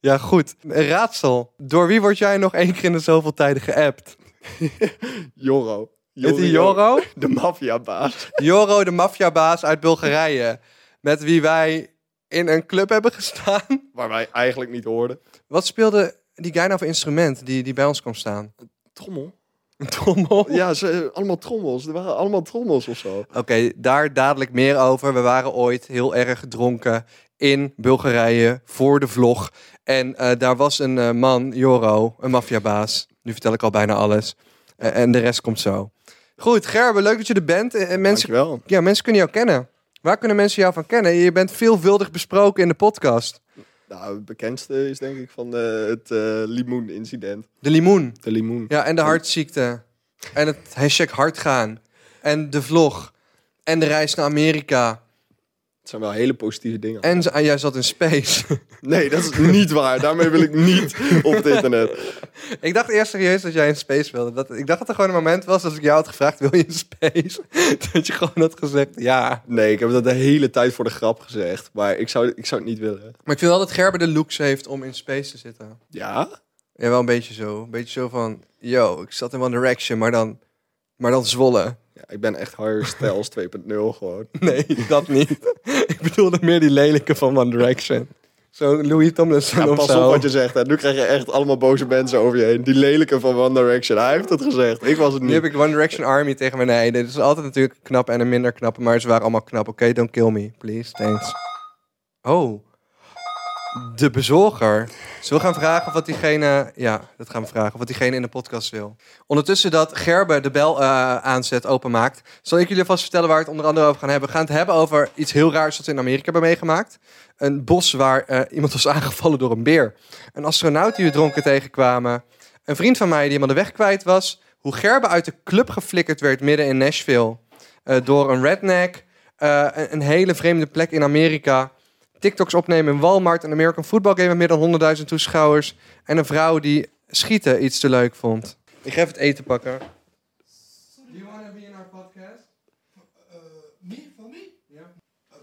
Ja, goed. Een raadsel. Door wie word jij nog één keer in de zoveel tijden geappt? Joro. Is die Joro? De maffiabaas. Joro, de maffiabaas uit Bulgarije. Met wie wij in een club hebben gestaan. Waar wij eigenlijk niet hoorden. Wat speelde die guy nou voor instrument die, die bij ons kwam staan? Trommel? Een trommel? Ja, ze, allemaal trommels. Er waren allemaal trommels of zo. Oké, daar dadelijk meer over. We waren ooit heel erg gedronken in Bulgarije voor de vlog. En eh, daar was een eh, man, Joro, een maffiabaas. Nu vertel ik al bijna alles. Eh, en de rest komt zo. Goed, Gerben, leuk dat je er bent. Eh, eh, mensen, Dankjewel. ja, mensen kunnen jou kennen. Waar kunnen mensen jou van kennen? Je bent veelvuldig besproken in de podcast. Nou, het bekendste is denk ik van eh, het eh, limoen-incident. De limoen. De limoen. Ja, en de hartziekte. En het hashtag hardgaan. En de vlog. En de reis naar Amerika. Het zijn wel hele positieve dingen. En z- ah, jij zat in space. Nee, dat is niet waar. Daarmee wil ik niet op het internet. Ik dacht eerst serieus dat jij in space wilde. Dat, ik dacht dat er gewoon een moment was als ik jou had gevraagd: wil je in space? dat je gewoon had gezegd ja. Nee, ik heb dat de hele tijd voor de grap gezegd. Maar ik zou, ik zou het niet willen. Maar ik vind wel dat Gerber de looks heeft om in space te zitten. Ja? Ja, wel een beetje zo. Een beetje zo van: yo, ik zat in One Direction, maar dan, maar dan zwollen. ja ik ben echt Harry Styles 2.0 gewoon. Nee, dat niet. ik bedoelde meer die lelijke van One Direction. Zo'n Louis Tomlinson Ja, of pas zo. op wat je zegt. Hè. Nu krijg je echt allemaal boze mensen over je heen. Die lelijke van One Direction. Hij heeft het gezegd. Ik was het Nu niet. heb ik One Direction Army tegen me. Nee, dit is altijd natuurlijk een knap en een minder knappe, maar ze waren allemaal knap. Oké, don't kill me, please. Thanks. Oh, de bezorger. Zullen we gaan vragen wat diegene... Ja, dat gaan we vragen. Wat diegene in de podcast wil. Ondertussen dat Gerben de bel eh, aanzet, openmaakt... zal ik jullie vast vertellen waar we het onder andere over gaan hebben. We gaan het hebben over iets heel raars dat we in Amerika hebben meegemaakt. Een bos waar eh, iemand was aangevallen door een beer. Een astronaut die we dronken tegenkwamen. Een vriend van mij die helemaal de weg kwijt was. Hoe Gerben uit de club geflikkerd werd midden in Nashville. eh, door een redneck. eh, een, een hele vreemde plek in Amerika. TikToks opnemen in Walmart. Een American Football Game met meer dan 100.000 toeschouwers. En een vrouw die schieten iets te leuk vond. Ik ga even het eten pakken. Do you want to be in our podcast? Uh,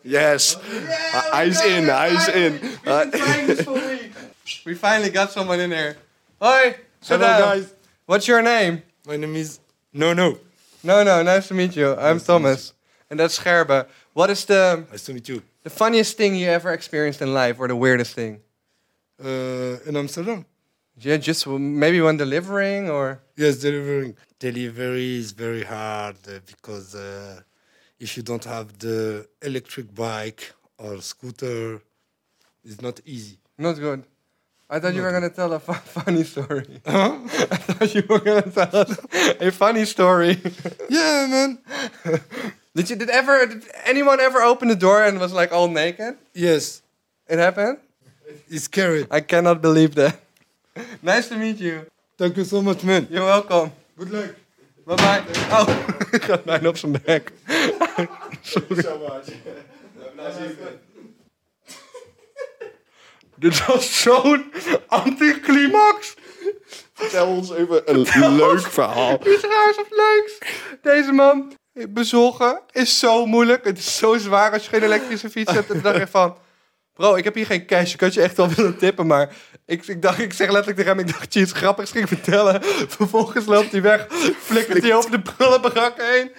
Yes. Ah, hij is in. Hij is in. We finally got someone in here. Hoi, sit down. What's your name? My name is No No. No, no, nice to meet you. I'm Thomas. And that's Gerben. What is the, Nice to meet you. the funniest thing you ever experienced in life or the weirdest thing? Uh, in Amsterdam. Yeah, just maybe when delivering or Yes, delivering. Delivery is very hard uh, because uh, if you don't have the electric bike or scooter, it's not easy. not good. I thought you were gonna tell a fu- funny story. I thought you were gonna tell us a funny story. Yeah, man. did you did ever did anyone ever open the door and was like all naked? Yes, It happened? it's scary. I cannot believe that. nice to meet you. Thank you so much, man. You're welcome. Good luck. Bye bye. Oh, ik had bijna op zijn bek. Dit was zo'n anticlimax. Vertel ons even een leuk verhaal. Iets raars of leuks. Deze man bezorgen is zo moeilijk. Het is zo zwaar als je geen elektrische fiets hebt. En toen dacht ik van... Bro, ik heb hier geen cash. Ik had je echt wel willen tippen, maar... Ik, ik, dacht, ik zeg letterlijk tegen hem, ik dacht dat je iets grappigs ging vertellen. Vervolgens loopt hij weg, flikkert hij over de prullenbrak heen.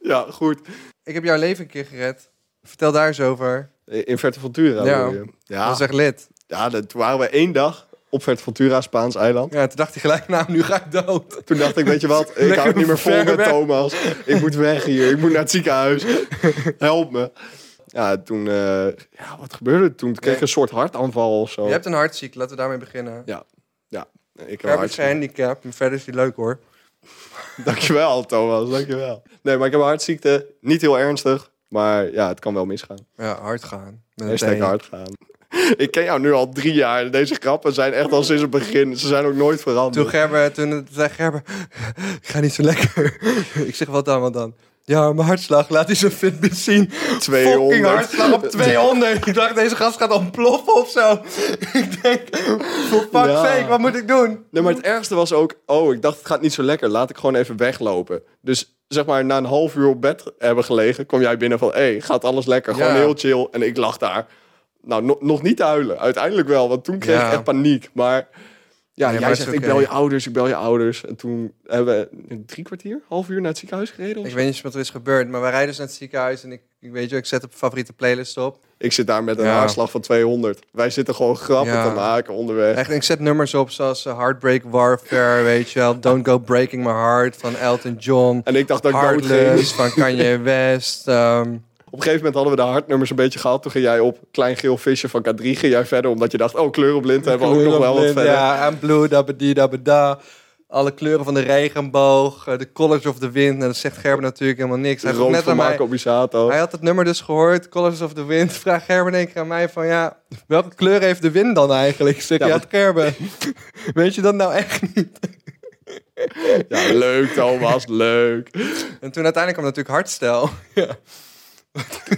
Ja, goed. Ik heb jouw leven een keer gered. Vertel daar eens over. In Verteventura. Ja. bedoel je? Dat Ja. was echt lid. ja, dat waren we één dag op Verteventura, Spaans eiland. Ja, toen dacht hij gelijk, nou, nu ga ik dood. Toen dacht ik, weet je wat, ik Lekker hou het niet meer vol ver met weg. Thomas. Ik moet weg hier, ik moet naar het ziekenhuis. Help me. Ja, toen... eh, ja, wat gebeurde er toen? kreeg ik een soort hartaanval of zo. Je hebt een hartziekte, laten we daarmee beginnen. Ja, ja. Ik Ik heb een heb een hartziekte. handicap, maar verder is die leuk hoor. Dankjewel, Thomas. Dankjewel. Nee, maar ik heb een hartziekte. Niet heel ernstig. Maar ja, het kan wel misgaan. Ja, hard gaan. Met een Hashtag teen. hard gaan. Ik ken jou nu al drie jaar. en Deze grappen zijn echt al sinds het begin. Ze zijn ook nooit veranderd. Toen Gerber, toen zei Gerber, ik ga niet zo lekker. ik zeg, wat dan, wat dan? Ja, mijn hartslag, laat die zijn fitbit zien. 200. Fucking hartslag op 200. ik dacht, deze gast gaat ontploffen of zo. ik denk, voor fuck's Ja. sake, wat moet ik doen? Nee, maar het ergste was ook... Oh, ik dacht het gaat niet zo lekker. Laat ik gewoon even weglopen. Dus zeg maar na een half uur op bed hebben gelegen... kom jij binnen van... hey, gaat alles lekker? Gewoon Ja. heel chill. En ik lag daar. Nou, no- nog niet te huilen. Uiteindelijk wel. Want toen kreeg Ja. ik echt paniek. Maar ja, jij maar het zegt... is Ik oké. bel je ouders, ik bel je ouders. En toen hebben we drie kwartier, half uur naar het ziekenhuis gereden. Of Ik weet niet eens wat er is gebeurd, maar wij rijden dus naar het ziekenhuis en ik, ik weet je, ik zet de favoriete playlist op. Ik zit daar met een Ja. haarslag van 200. Wij zitten gewoon grappen Ja. te maken onderweg. Echt, ik zet nummers op zoals eh, Heartbreak Warfare, weet je wel. Don't Go Breaking My Heart van Elton John. En ik dacht dat ik dood ging. Heartless van Kanye West. ehm. Op een gegeven moment hadden we de hardnummers een beetje gehad. Toen ging jij op Klein Geel Visje van K3 ging jij verder. Omdat je dacht, oh, kleurenblind hebben we ook nog wel wat Kleurenblind, verder. Ja, en blue, dabedi, dabeda. Alle kleuren van de regenboog, eh, de colors of the wind. En dat zegt Gerben natuurlijk helemaal niks. Hij, vroeg Rood net van aan mij, Marco Bizzato. hij had het nummer dus gehoord, colors of the wind. Vraagt Gerben in één keer aan mij van, ja, welke kleur heeft de wind dan eigenlijk? Ik zeg, Ja, ja, want- Gerben, weet je dat nou echt niet? Ja, leuk Thomas, leuk. En toen uiteindelijk kwam natuurlijk hardstel.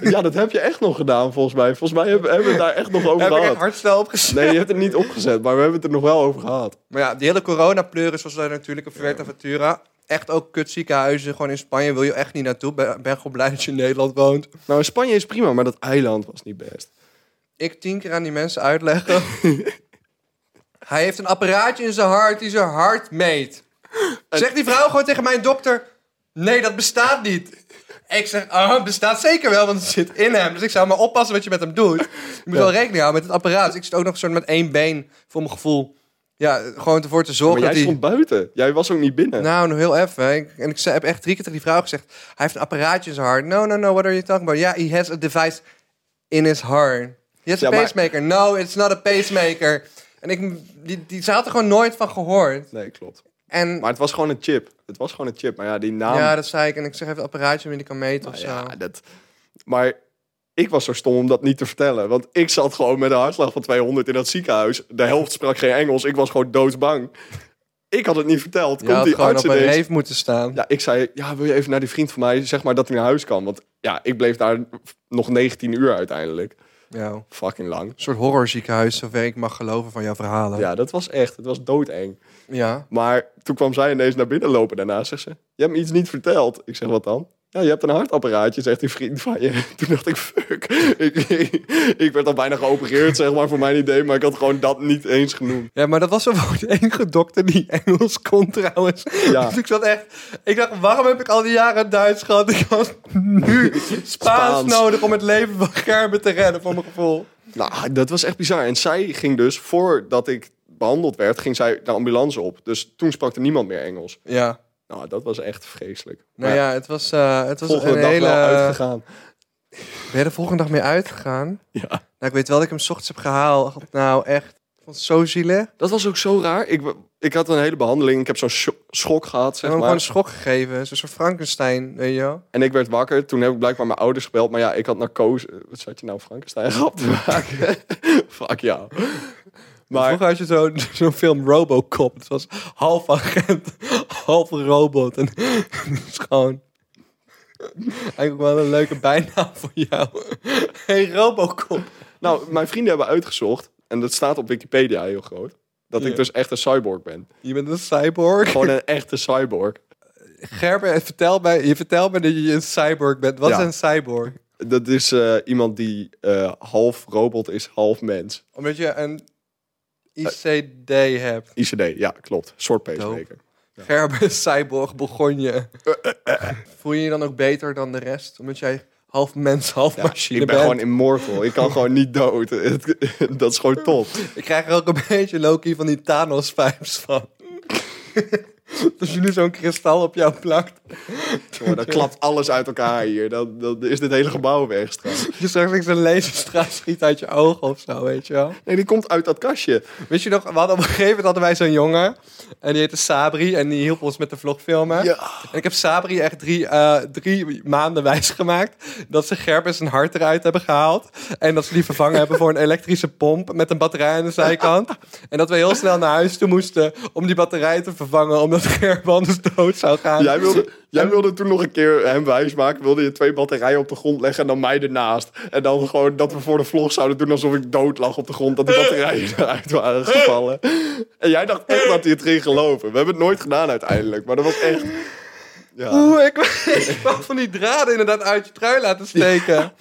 Ja, dat heb je echt nog gedaan volgens mij. Volgens mij hebben, hebben we het daar echt nog over Heb ik echt gehad. hardstel opgezet? Nee, je hebt het niet opgezet, maar we hebben het er nog wel over gehad. Maar ja, die hele coronapleuris was daar natuurlijk een Fuerteventura. Echt ook kutziekenhuizen, gewoon in Spanje wil je echt niet naartoe. Ben, ben gewoon blij dat je in Nederland woont. Nou, in Spanje is prima, maar dat eiland was niet best. ik tien keer aan die mensen uitleggen. Hij heeft een apparaatje in zijn hart die zijn hart meet. Zegt die vrouw gewoon tegen mijn dokter: Nee, dat bestaat niet. Ik zeg: Ah, het bestaat zeker wel, want het zit in hem. Dus ik zou maar oppassen wat je met hem doet. Je moet wel rekening houden met het apparaat. Dus ik zit ook nog soort met één been voor mijn gevoel. Ja, gewoon ervoor te zorgen Maar jij dat hij. stond buiten. Jij was ook niet binnen. Nou, nog heel even. Ik- En ik zei- heb echt drie keer tegen die vrouw gezegd: Hij heeft een apparaatje in zijn hart. No, no, no, what are you talking about? Ja, he has a device in his heart. He has Ja, a maar- pacemaker. No, it's not a pacemaker. En ik, die, die, ze had er gewoon nooit van gehoord. Nee, klopt. En Maar het was gewoon een chip. Het was gewoon een chip. Maar ja, die naam. ja, dat zei ik. En ik zeg even apparaatje waarmee die kan meten of zo. Nou Ja, dat... Maar ik was zo stom om dat niet te vertellen. Want ik zat gewoon met een hartslag van 200 in dat ziekenhuis. De helft sprak geen Engels. Ik was gewoon doodsbang. Ik had het niet verteld. Je Komt had die gewoon arts op een ineens. reef moeten staan. Ja, ik zei, ja, wil je even naar die vriend van mij, zeg maar dat hij naar huis kan. Want ja, ik bleef daar nog 19 uur uiteindelijk. Ja. Een Fucking lang. soort horrorziekenhuis, zover ik mag geloven van jouw verhalen. Ja. Ja, dat was echt, het was doodeng. Maar toen kwam zij ineens naar binnen lopen daarna. Zegt ze, je hebt me iets niet verteld. Ik zeg, wat dan? Ja, je hebt een hartapparaatje, zegt die vriend van je. Toen dacht ik, fuck. Ik, ik werd al bijna geopereerd, zeg maar, voor mijn idee. Maar ik had gewoon dat niet eens genoemd. Ja, maar dat was wel de enige dokter die Engels kon trouwens. Ja. Dus ik zat echt... Ik dacht, waarom heb ik al die jaren Duits gehad? Ik had nu Spaans, Spaans. nodig om het leven van Gerben te redden, voor mijn gevoel. Nou, dat was echt bizar. En zij ging dus, voordat ik behandeld werd, ging zij de ambulance op. Dus toen sprak er niemand meer Engels. Ja. Nou, dat was echt vreselijk. Nou Maar ja, het was, eh, het was volgende een dag hele... wel uitgegaan. Ben je de volgende dag mee uitgegaan? Ja. Nou, ik weet wel dat ik hem 's ochtends heb gehaald. Nou, echt. Ik vond het zo zielig. Dat was ook zo raar. Ik, ik had een hele behandeling. Ik heb zo'n scho- schok gehad, Ze zeg hebben hem maar. gewoon een schok gegeven. Zo'n soort Frankenstein, weet je wel. En ik werd wakker. Toen heb ik blijkbaar mijn ouders gebeld. Maar ja, ik had narcose. Wat zat je nou Frankenstein grap te maken? Fuck jou. Maar Vroeger had je zo'n zo'n film Robocop. Het was half agent, half robot. En het is gewoon... Eigenlijk wel een leuke bijnaam voor jou. Hey Robocop. nou, mijn vrienden hebben uitgezocht. En dat staat op Wikipedia heel groot. Dat Ja. ik dus echt een cyborg ben. Je bent een cyborg. Gewoon een echte cyborg. Gerben, vertel mij, je vertelt me dat je een cyborg bent. Wat Ja. is een cyborg? Dat is eh, iemand die eh, half robot is, half mens. Omdat je een ICD hebt. ICD, ja, klopt. Soort pacemaker. Dope. Gerben, cyborg, begon je. Voel je je dan ook beter dan de rest? Omdat jij half mens, half Ja, machine ik ben bent. gewoon immortal. Ik kan gewoon niet dood. Het- dat is gewoon top. Ik krijg er ook een beetje Loki van die Thanos-vibes van. Als je nu zo'n kristal op jou plakt. Jongen, dan klapt alles uit elkaar hier. Dan, dan is dit hele gebouw weg straks. Je straks niks een laserstraal schiet uit je ogen of zo, weet je wel. Nee, die komt uit dat kastje. Weet je nog, we hadden op een gegeven moment hadden wij zo'n jongen. En die heette Sabri. En die hielp ons met de vlogfilmen. Ja. En ik heb Sabri echt drie, eh, drie maanden wijsgemaakt. Dat ze Gerbers zijn hart eruit hebben gehaald. En dat ze die vervangen hebben voor een elektrische pomp. Met een batterij aan de zijkant. En dat we heel snel naar huis toe moesten. Om die batterij te vervangen. Omdat Gerber anders dood zou gaan. Jij wilde, jij wilde toen nog een keer hem wijsmaken. Wilde je twee batterijen op de grond leggen en dan mij ernaast. En dan gewoon dat we voor de vlog zouden doen alsof ik dood lag op de grond. Dat de batterijen eruit waren gevallen. En jij dacht echt dat hij het ging geloven. We hebben het nooit gedaan uiteindelijk. Maar dat was echt... Ja. Oeh, ik, ik wou van die draden inderdaad uit je trui laten steken.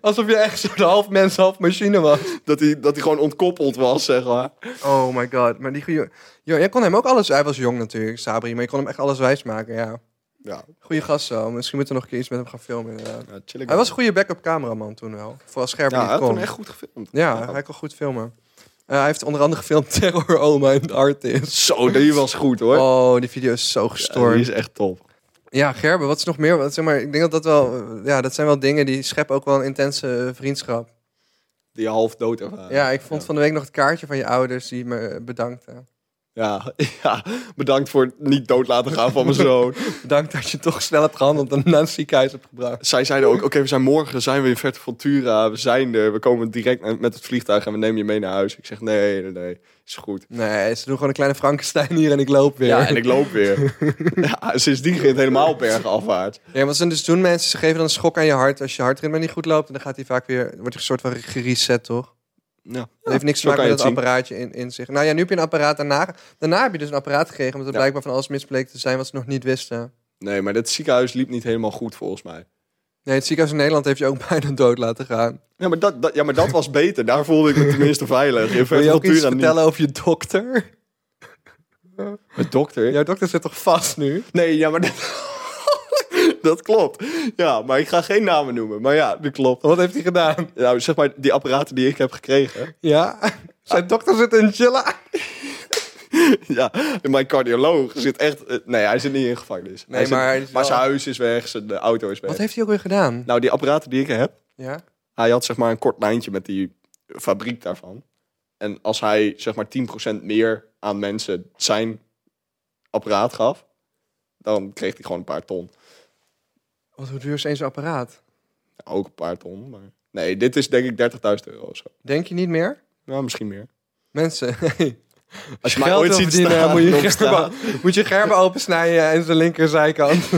Alsof je echt zo'n half mens, half machine was. Dat hij, dat hij gewoon ontkoppeld was, zeg maar. Oh my god. Maar die goeie... Jo, jij kon hem ook alles... Hij was jong natuurlijk, Sabri. Maar je kon hem echt alles wijs maken, ja. Ja, Goeie gast zo. Misschien moeten we nog een keer iets met hem gaan filmen, inderdaad. ja chill ik Hij wel. was een goede backup cameraman toen wel. Voor als scherp ja, hij niet had kon. toen echt goed gefilmd. Ja, hij kon goed filmen. Eh, hij heeft onder andere gefilmd Terror Oma en The Artist. Zo, die was goed hoor. Oh, die video is zo Ja, gestoord. die Ja, is echt top. Gerben, wat is nog meer? Wat, zeg maar, ik denk dat dat wel... eh, Ja, dat zijn wel dingen die scheppen ook wel een intense eh, vriendschap. Die half dood ervaring. Ja, ik vond van de week nog het kaartje van je ouders die me eh, bedankten. Ja, ja, bedankt voor het niet dood laten gaan van mijn zoon. Bedankt dat je toch snel hebt gehandeld en hem naar het ziekenhuis hebt gebracht. Zij zeiden ook, oké, we zijn morgen zijn we in Ventura, we zijn er, we komen direct na- met het vliegtuig en we nemen je mee naar huis. Ik zeg, nee, nee, nee, is goed. Nee, ze doen gewoon een kleine Frankenstein hier en ik loop weer. Ja, en ik loop weer. ja, sindsdien ging het helemaal bergen afwaart. Ja, wat ze dus doen mensen, ze geven dan een schok aan je hart. Als je hartritme niet goed loopt, dan gaat hij vaak weer, wordt hij een soort van gereset, toch? Ja. dat heeft niks te zo maken kan met dat je het apparaatje in, in zich. Nou ja, nu heb je een apparaat daarna. Daarna heb je dus een apparaat gekregen, omdat er Ja. blijkbaar van alles misbleek te zijn wat ze nog niet wisten. Nee, maar dat ziekenhuis liep niet helemaal goed volgens mij. Nee, het ziekenhuis in Nederland heeft je ook bijna dood laten gaan. Ja, maar dat, dat, ja, maar dat was beter. Daar voelde ik me tenminste veilig. In Wil je ook iets Ventura niet. vertellen over je dokter? Met dokter? Jouw dokter zit toch vast nu? Nee, ja, maar dat, dat klopt. Ja, maar ik ga geen namen noemen. Maar ja, dat klopt. Wat heeft hij gedaan? Nou, zeg maar, die apparaten die ik heb gekregen. Ja? Zijn dokter zit in chilla. ja, mijn cardioloog zit echt... eh, Nee, hij zit niet in gevangenis. Nee, Hij zit- maar hij is wel- zijn huis is weg, zijn eh, auto is weg. Wat heeft hij ook weer gedaan? Nou, die apparaten die ik heb... Ja? Hij had zeg maar een kort lijntje met die fabriek daarvan. En als hij zeg maar 10% meer aan mensen zijn apparaat gaf... dan kreeg hij gewoon een paar ton. Want hoe duur is eens apparaat? Ja, Nou, ook een paar ton, maar... Nee, dit is denk ik 30.000 euro of zo. Denk je niet meer? Nou, misschien meer. Mensen, hey, Als je Als mij je geld ooit wil ziet verdienen, staan, moet je nog gerben- staan. moet je gerben opensnijden en zijn linkerzijkant.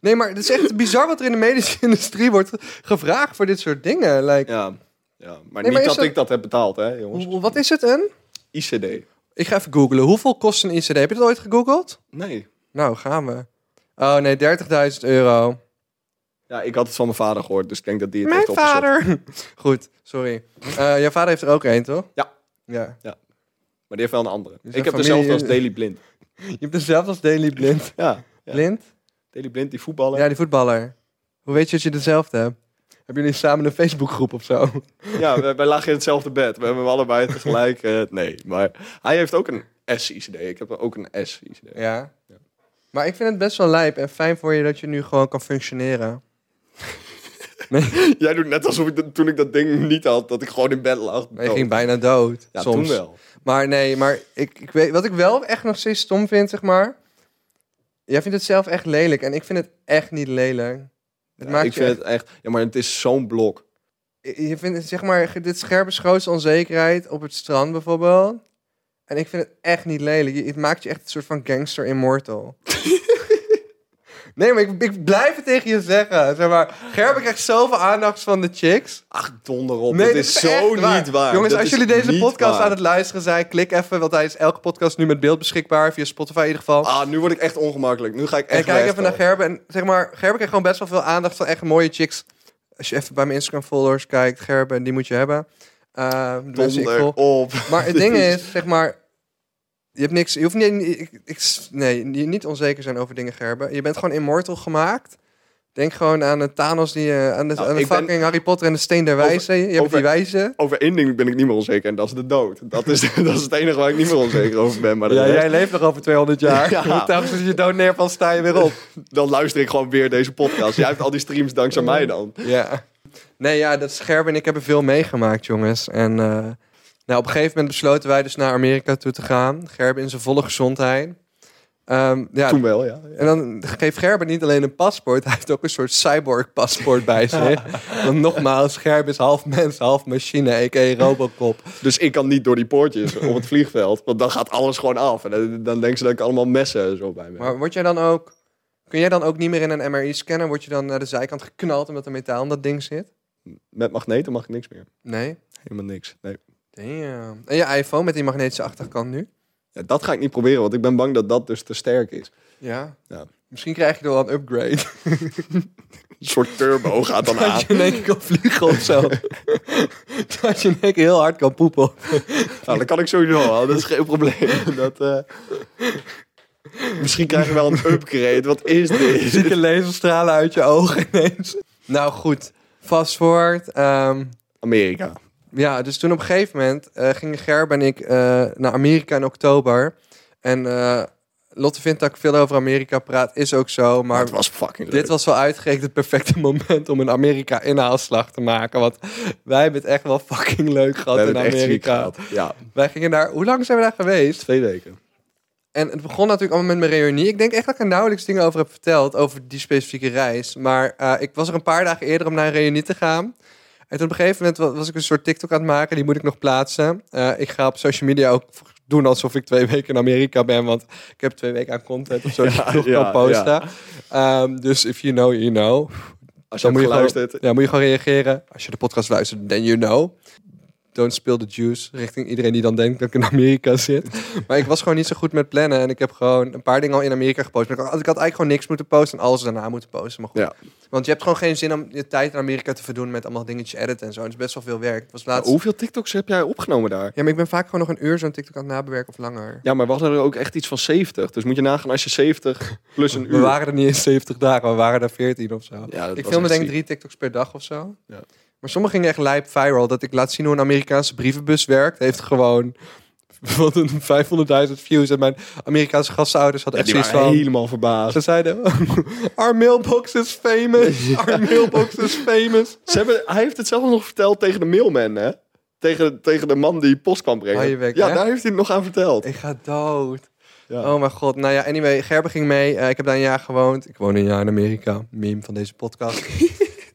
nee, maar het is echt bizar wat er in de medische industrie wordt gevraagd voor dit soort dingen. Like, Ja, ja maar Nee, maar niet is dat dat- ik dat heb betaald, hè, jongens. hoe- wat is het een? ICD. Ik ga even googlen. Hoeveel kost een ICD? Heb je dat ooit gegoogeld? Nee. Nou, gaan we. Oh nee, 30.000 euro. Ja, ik had het van mijn vader gehoord, dus ik denk dat die het Mijn heeft opgezocht. vader. Goed, sorry. Eh, jouw vader heeft er ook één, toch? Ja. Ja. Maar die heeft wel een andere. Dus ik een heb familie- dezelfde als Daily Blind. Je hebt dezelfde als Daily Blind. Ja, ja. Blind? Daily Blind, die voetballer. Ja, die voetballer. Hoe weet je dat je dezelfde hebt? Hebben jullie samen een Facebookgroep of zo? Ja, wij, wij lagen in hetzelfde bed. We hebben hem allebei tegelijk. eh, nee, maar hij heeft ook een S-ICD. Ik heb ook een S-ICD. Ja. Maar ik vind het best wel lijp en fijn voor je dat je nu gewoon kan functioneren. Jij doet net alsof ik dat- toen ik dat ding niet had, dat ik gewoon in bed lag. Maar je Oh. ging bijna dood. ja, soms. toen wel. Maar nee, maar ik, ik weet, wat ik wel echt nog steeds stom vind, zeg maar. Jij vindt het zelf echt lelijk en ik vind het echt niet lelijk. Het Ja, maakt ik je vind echt- het echt... Ja, maar het is zo'n blok. je vindt het, zeg maar, dit scherpe grootste onzekerheid op het strand bijvoorbeeld. En ik vind het echt niet lelijk. Je- Het maakt je echt een soort van gangster immortal. nee, maar ik, ik blijf het tegen je zeggen. Zeg maar, Gerben krijgt zoveel aandacht van de chicks. Ach, donder op. Nee, dat dit Oh, is, echt zo niet waar. Jongens, Dat als is jullie deze niet podcast waar. aan het luisteren zijn, klik even, want hij is elke podcast nu met beeld beschikbaar, via Spotify in ieder geval. Ah, nu word ik echt ongemakkelijk. Nu ga ik echt en kijk even rechtop. naar Gerben. En zeg maar, Gerben krijgt gewoon best wel veel aandacht van echt mooie chicks. Als je even bij mijn Instagram followers kijkt, Gerben, die moet je hebben. Eh, de mensen die ik Donder volg. op. Maar het Dit ding is, zeg maar, je hebt niks, je hoeft niet, ik, ik- nee, je- niet onzeker zijn over dingen, Gerben. Je bent gewoon immortal gemaakt Denk gewoon aan de Thanos, die, eh, aan de, Nou, aan de ik ben- fucking Harry Potter en de Steen der Wijzen. Je hebt over- die wijzen. Over één ding ben ik niet meer onzeker en dat is de dood. Dat is, dat is het enige waar ik niet meer onzeker over ben. Maar de Ja, rest- jij leeft nog over 200 jaar. Ja. Telkens als je dood neervalt, sta je weer op. dan luister ik gewoon weer deze podcast. Jij hebt al die streams dankzij mij dan. Ja. Nee, ja, dat Scherben en ik hebben veel meegemaakt, jongens. En eh, nou, op een gegeven moment besloten wij dus naar Amerika toe te gaan. Gerben in zijn volle gezondheid. Ehm, ja, Toen wel, ja. en dan geeft Gerben niet alleen een paspoort, hij heeft ook een soort cyborg-paspoort bij zich. Want nogmaals, Gerben is half mens, half machine, a.k.a. Robocop. Dus ik kan niet door die poortjes op het vliegveld. Want dan gaat alles gewoon af. En dan, dan denken ze dat ik allemaal messen en zo bij me heb. Maar word jij dan ook... Kun jij dan ook niet meer in een MRI-scanner? Word je dan naar de zijkant geknald omdat er metaal in dat ding zit? Met magneten mag ik niks meer. Nee? Helemaal niks. Nee. Damn. En je iPhone met die magnetische achterkant nu? Ja, dat ga ik niet proberen, want ik ben bang dat dat dus te sterk is. Ja. Ja. Misschien krijg je er wel een upgrade. Een soort turbo gaat dan aan. Dat je in één keer kan vliegen of zo. dat je in één keer heel hard kan poepen. Nou, dat kan ik sowieso al. Dat is geen probleem. Dat, eh, Misschien krijg je wel een upgrade. Wat is dit? Zieke laserstralen uit je ogen ineens. Nou goed, fast forward. ehm, Amerika. ja, dus toen op een gegeven moment eh, gingen Gerb en ik eh, naar Amerika in oktober. En eh, Lotte vindt dat ik veel over Amerika praat, is ook zo. Maar Maar het was fucking leuk. Dit was wel uitgerekend het perfecte moment om een Amerika-inhaalslag te maken. Want wij hebben het echt wel fucking leuk We gehad in hebben het echt ziek Amerika. gehad. Ja, Wij gingen daar... Hoe lang zijn we daar geweest? twee weken. En het begon natuurlijk allemaal met mijn reunie. Ik denk echt dat ik er nauwelijks dingen over heb verteld, over die specifieke reis. Maar eh, ik was er een paar dagen eerder om naar een reunie te gaan. En toen op een gegeven moment wa- was ik een soort TikTok aan het maken, die moet ik nog plaatsen. Eh, ik ga op social media ook doen alsof ik twee weken in Amerika ben, want ik heb twee weken aan content of zo die ik nog ja, kan posten. Ehm, dus if you know, you know. Als je Dan hebt moet je, geluisterd, gewoon, ja, moet je gewoon reageren. Als je de podcast luistert, then you know. Don't spill the juice. Richting iedereen die dan denkt dat ik in Amerika zit. maar ik was gewoon niet zo goed met plannen. En ik heb gewoon een paar dingen al in Amerika gepost. Maar ik had ik had eigenlijk gewoon niks moeten posten. En alles daarna moeten posten. Maar goed. Ja. Want je hebt gewoon geen zin om je tijd in Amerika te verdoen met allemaal dingetjes editen en zo. Het is best wel veel werk. Het was laatst... Hoeveel TikToks heb jij opgenomen daar? Ja, maar ik ben vaak gewoon nog een uur zo'n TikTok aan het nabewerken of langer. Ja, maar we hadden er ook echt iets van 70. Dus moet je nagaan als je 70 plus een We uur... waren er niet eens 70 dagen. We waren er 14 of zo. Ja, dat Ik filmde was echt denk ik ziek. drie TikToks per dag of zo. Ja. Maar sommige gingen echt lijp viral. Dat ik laat zien hoe een Amerikaanse brievenbus werkt. Heeft gewoon wat een 500.000 views. En mijn Amerikaanse gastouders hadden Ja, echt die zoiets waren van... helemaal verbaasd. Ze zeiden, our mailbox is famous. Our mailbox is famous. Ze hebben, hij heeft het zelf nog verteld tegen de mailman, hè? Tegen, tegen de man die post kwam brengen. Hou Oh, je bek, ja, hè? daar heeft hij het nog aan verteld. Ik ga dood. Ja. Oh mijn god. Nou ja, anyway. Gerben ging mee. Eh, ik heb daar een jaar gewoond. Ik woon een jaar in Amerika. Meme van deze podcast.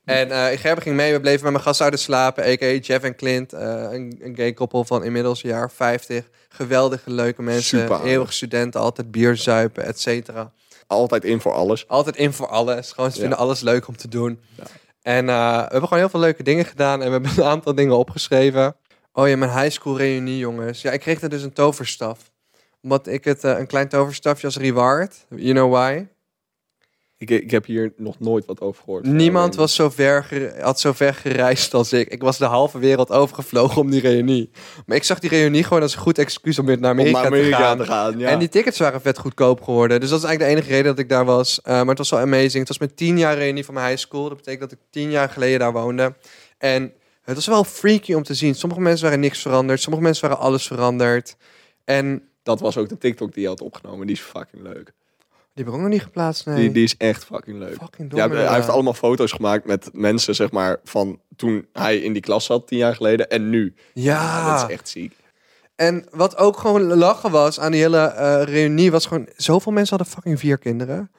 en eh, Gerben ging mee. We bleven bij mijn gastouders slapen. A.k.a. Jeff en Clint. eh, een, een gay koppel van inmiddels een jaar 50. Geweldige, leuke mensen. Super aardig. Eeuwig studenten. Altijd bier zuipen, et cetera. Altijd in voor alles. Altijd in voor alles. Gewoon, ze Ja. vinden alles leuk om te doen. En eh, we hebben gewoon heel veel leuke dingen gedaan. En we hebben een aantal dingen opgeschreven. Oh ja, mijn high school reunie, jongens. Ja, ik kreeg er dus een toverstaf. Omdat ik het eh, een klein toverstafje als reward. You know why? Ik, ik heb hier nog nooit wat over gehoord. Niemand was zo ver, ge- had zo ver gereisd als ik. Ik was de halve wereld overgevlogen om die reunie. Maar ik zag die reunie gewoon als een goed excuus om weer naar Om Amerika, naar Amerika te gaan. ja. En die tickets waren vet goedkoop geworden. Dus dat is eigenlijk de enige reden dat ik daar was. Eh, maar het was wel amazing. Het was mijn tien jaar reunie van mijn high school. Dat betekent dat ik tien jaar geleden daar woonde. En het was wel freaky om te zien. Sommige mensen waren niks veranderd. Sommige mensen waren alles veranderd. En Dat was ook de TikTok die hij had opgenomen. Die is fucking leuk. die heb ik ook nog niet geplaatst, nee. Die, die is echt fucking leuk. Fucking dom, Ja, hij heeft inderdaad. allemaal foto's gemaakt met mensen, zeg maar, van toen hij in die klas zat, tien jaar geleden, en nu. Ja. Dat is echt ziek. En wat ook gewoon lachen was aan die hele eh, reunie, was gewoon... Zoveel mensen hadden fucking vier kinderen.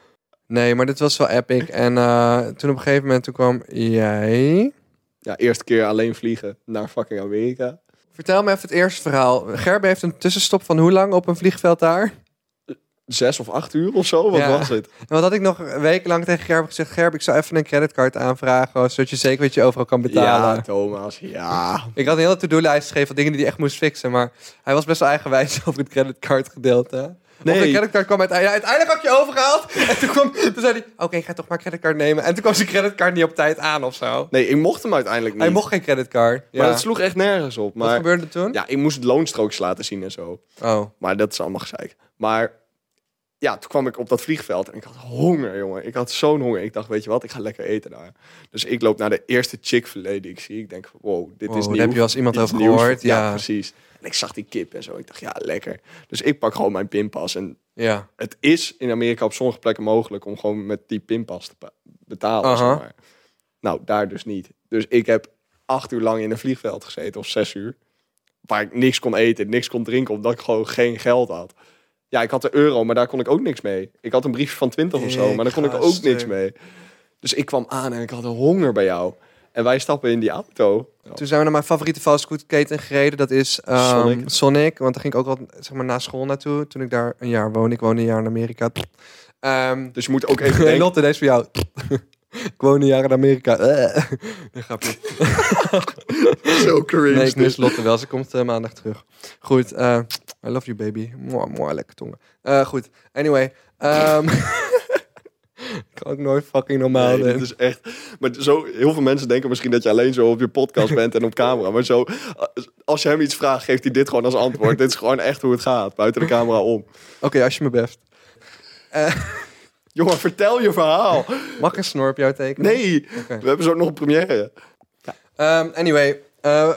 Nee, maar dit was wel epic. En eh, toen op een gegeven moment toen kwam jij... Ja, eerste keer alleen vliegen naar fucking Amerika. Vertel me even het eerste verhaal. Gerben heeft een tussenstop van hoe lang op een vliegveld daar? Zes of acht uur of zo, wat Ja. was het? En wat had ik nog wekenlang tegen Gerben gezegd? Gerben, ik zou even een creditcard aanvragen, oh, zodat je zeker weet je overal kan betalen. Ja, Thomas, ja. Ik had een hele to-do-lijst geschreven van dingen die hij echt moest fixen, maar hij was best wel eigenwijs over het creditcardgedeelte. Nee. de Nee. creditcard kwam uiteindelijk, ja, uiteindelijk had ik je overgehaald. En toen, kwam, toen zei hij, oké, ik ga toch maar creditcard nemen. En toen kwam zijn creditcard niet op tijd aan of zo. Nee, ik mocht hem uiteindelijk niet. Hij mocht geen creditcard. Ja. Maar dat sloeg echt nergens op. Wat Maar gebeurde er toen? ja, ik moest loonstrooks laten zien en zo. Oh. Maar dat is allemaal gezeik. Maar ja, toen kwam ik op dat vliegveld en ik had honger, jongen. Ik had zo'n honger. Ik dacht, weet je wat, ik ga lekker eten daar. Dus ik loop naar de eerste Chick-fil-A die ik zie. Ik denk, van, wow, dit Wow, is Oh, daar nieuw. heb je wel eens iemand Iets over nieuws. gehoord, ja. precies. En ik zag die kip en zo. Ik dacht, ja, lekker. Dus ik pak gewoon mijn pinpas. En Ja. het is in Amerika op sommige plekken mogelijk om gewoon met die pinpas te pa- betalen. Aha. zeg maar. Nou, daar dus niet. Dus ik heb acht uur lang in een vliegveld gezeten, of zes uur. Waar ik niks kon eten, niks kon drinken, omdat ik gewoon geen geld had. Ja, ik had de euro, maar daar kon ik ook niks mee. Ik had een briefje van 20 of zo, Ik maar daar kon ik ga ook niks stuk. mee. Dus ik kwam aan en ik had een honger bij jou. En wij stappen in die auto. Toen zijn we naar mijn favoriete fastfoodketen gereden. Dat is ehm, Sonic. Sonic. Want daar ging ik ook altijd zeg maar, na school naartoe. Toen ik daar een jaar woonde. Ik woonde een jaar in Amerika. Ehm Dus je moet ook even denken. Lotte, deze is voor jou. ik woon een jaar in Amerika. Eh. Nee, grapje. Zo cringe. Nee, ik dit. mis Lotte wel. Ze komt eh, maandag terug. Goed. eh, I love you, baby. Mooi, mooi, lekker tongen. Eh, goed. Anyway. ehm, ik kan ook nooit fucking normaal Nee, doen. dit is echt. Maar zo, heel veel mensen denken misschien dat je alleen zo op je podcast bent en op camera. Maar zo, als je hem iets vraagt, geeft hij dit gewoon als antwoord. dit is gewoon echt hoe het gaat, buiten de camera om. Oké, als je me beft. Jongen, vertel je verhaal. Mag ik een snor op jou tekenen? Nee, Oké. we hebben zo nog een première. Ehm, anyway. eh,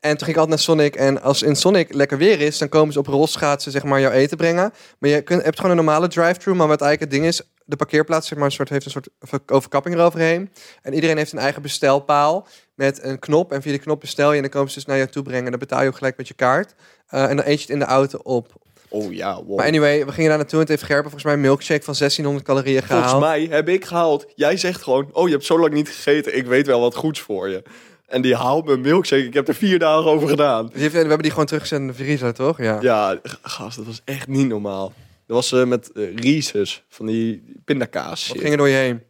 en toen ging ik altijd naar Sonic. En als in Sonic lekker weer is, dan komen ze op rolschaatsen zeg maar jouw eten brengen. Maar je kunt, hebt gewoon een normale drive-thru. Maar wat eigenlijk het ding is, de parkeerplaats zeg maar, een soort, heeft een soort over- overkapping eroverheen. En iedereen heeft een eigen bestelpaal met een knop. En via die knop bestel je en dan komen ze dus naar jou toe brengen. En dan betaal je ook gelijk met je kaart. Eh, en dan eet je het in de auto op. Oh ja, wow. Maar anyway, we gingen daar naartoe en het heeft Gerben volgens mij een milkshake van 1600 calorieën gehaald. Volgens mij heb ik gehaald. Jij zegt gewoon, oh je hebt zo lang niet gegeten. Ik weet wel wat goeds voor je. En die haalt mijn milkshake. Ik heb er vier dagen over gedaan. Die heeft- we hebben die gewoon teruggezet in de vriezer, toch? Ja. Ja, g- gast, dat was echt niet normaal. Dat was eh, met eh, Reese's, van die pindakaas. Wat shit. ging er door je heen?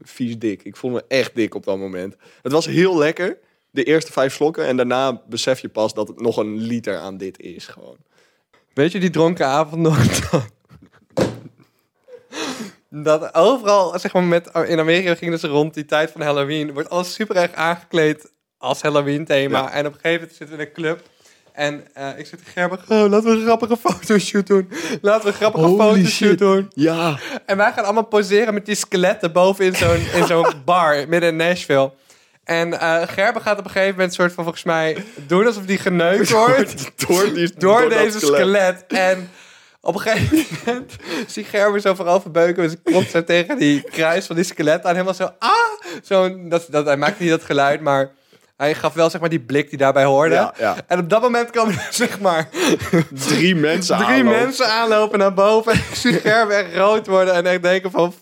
vies dik. Ik voelde me echt dik op dat moment. Het was heel lekker, de eerste vijf slokken. En daarna besef je pas dat het nog een liter aan dit is gewoon. Weet je die dronken avond nog? Dat overal, zeg maar, met, in Amerika gingen ze rond die tijd van Halloween. Wordt alles super erg aangekleed als Halloween-thema. Ja. En op een gegeven moment zitten we in een club. En eh, ik zit tegen Gerber, oh, laten we een grappige fotoshoot doen. Laten we een grappige Holy fotoshoot shit. doen. Ja, En wij gaan allemaal poseren met die skeletten boven in zo'n, in zo'n bar midden in Nashville. En eh Gerben gaat op een gegeven moment soort van volgens mij doen alsof die geneukt wordt door, die, door, dat deze skelet. En op een gegeven moment zie Gerber zo voorover beuken. Dus ik klop zo tegen die kruis van die skelet aan. Helemaal zo, ah! Zo, dat, dat, hij maakte niet dat geluid, maar hij gaf wel zeg maar die blik die daarbij hoorde. Ja, ja. En op dat moment komen er zeg maar Drie mensen drie aanlopen. mensen aanlopen naar boven. En ik zie Gerber echt rood worden en echt denken van,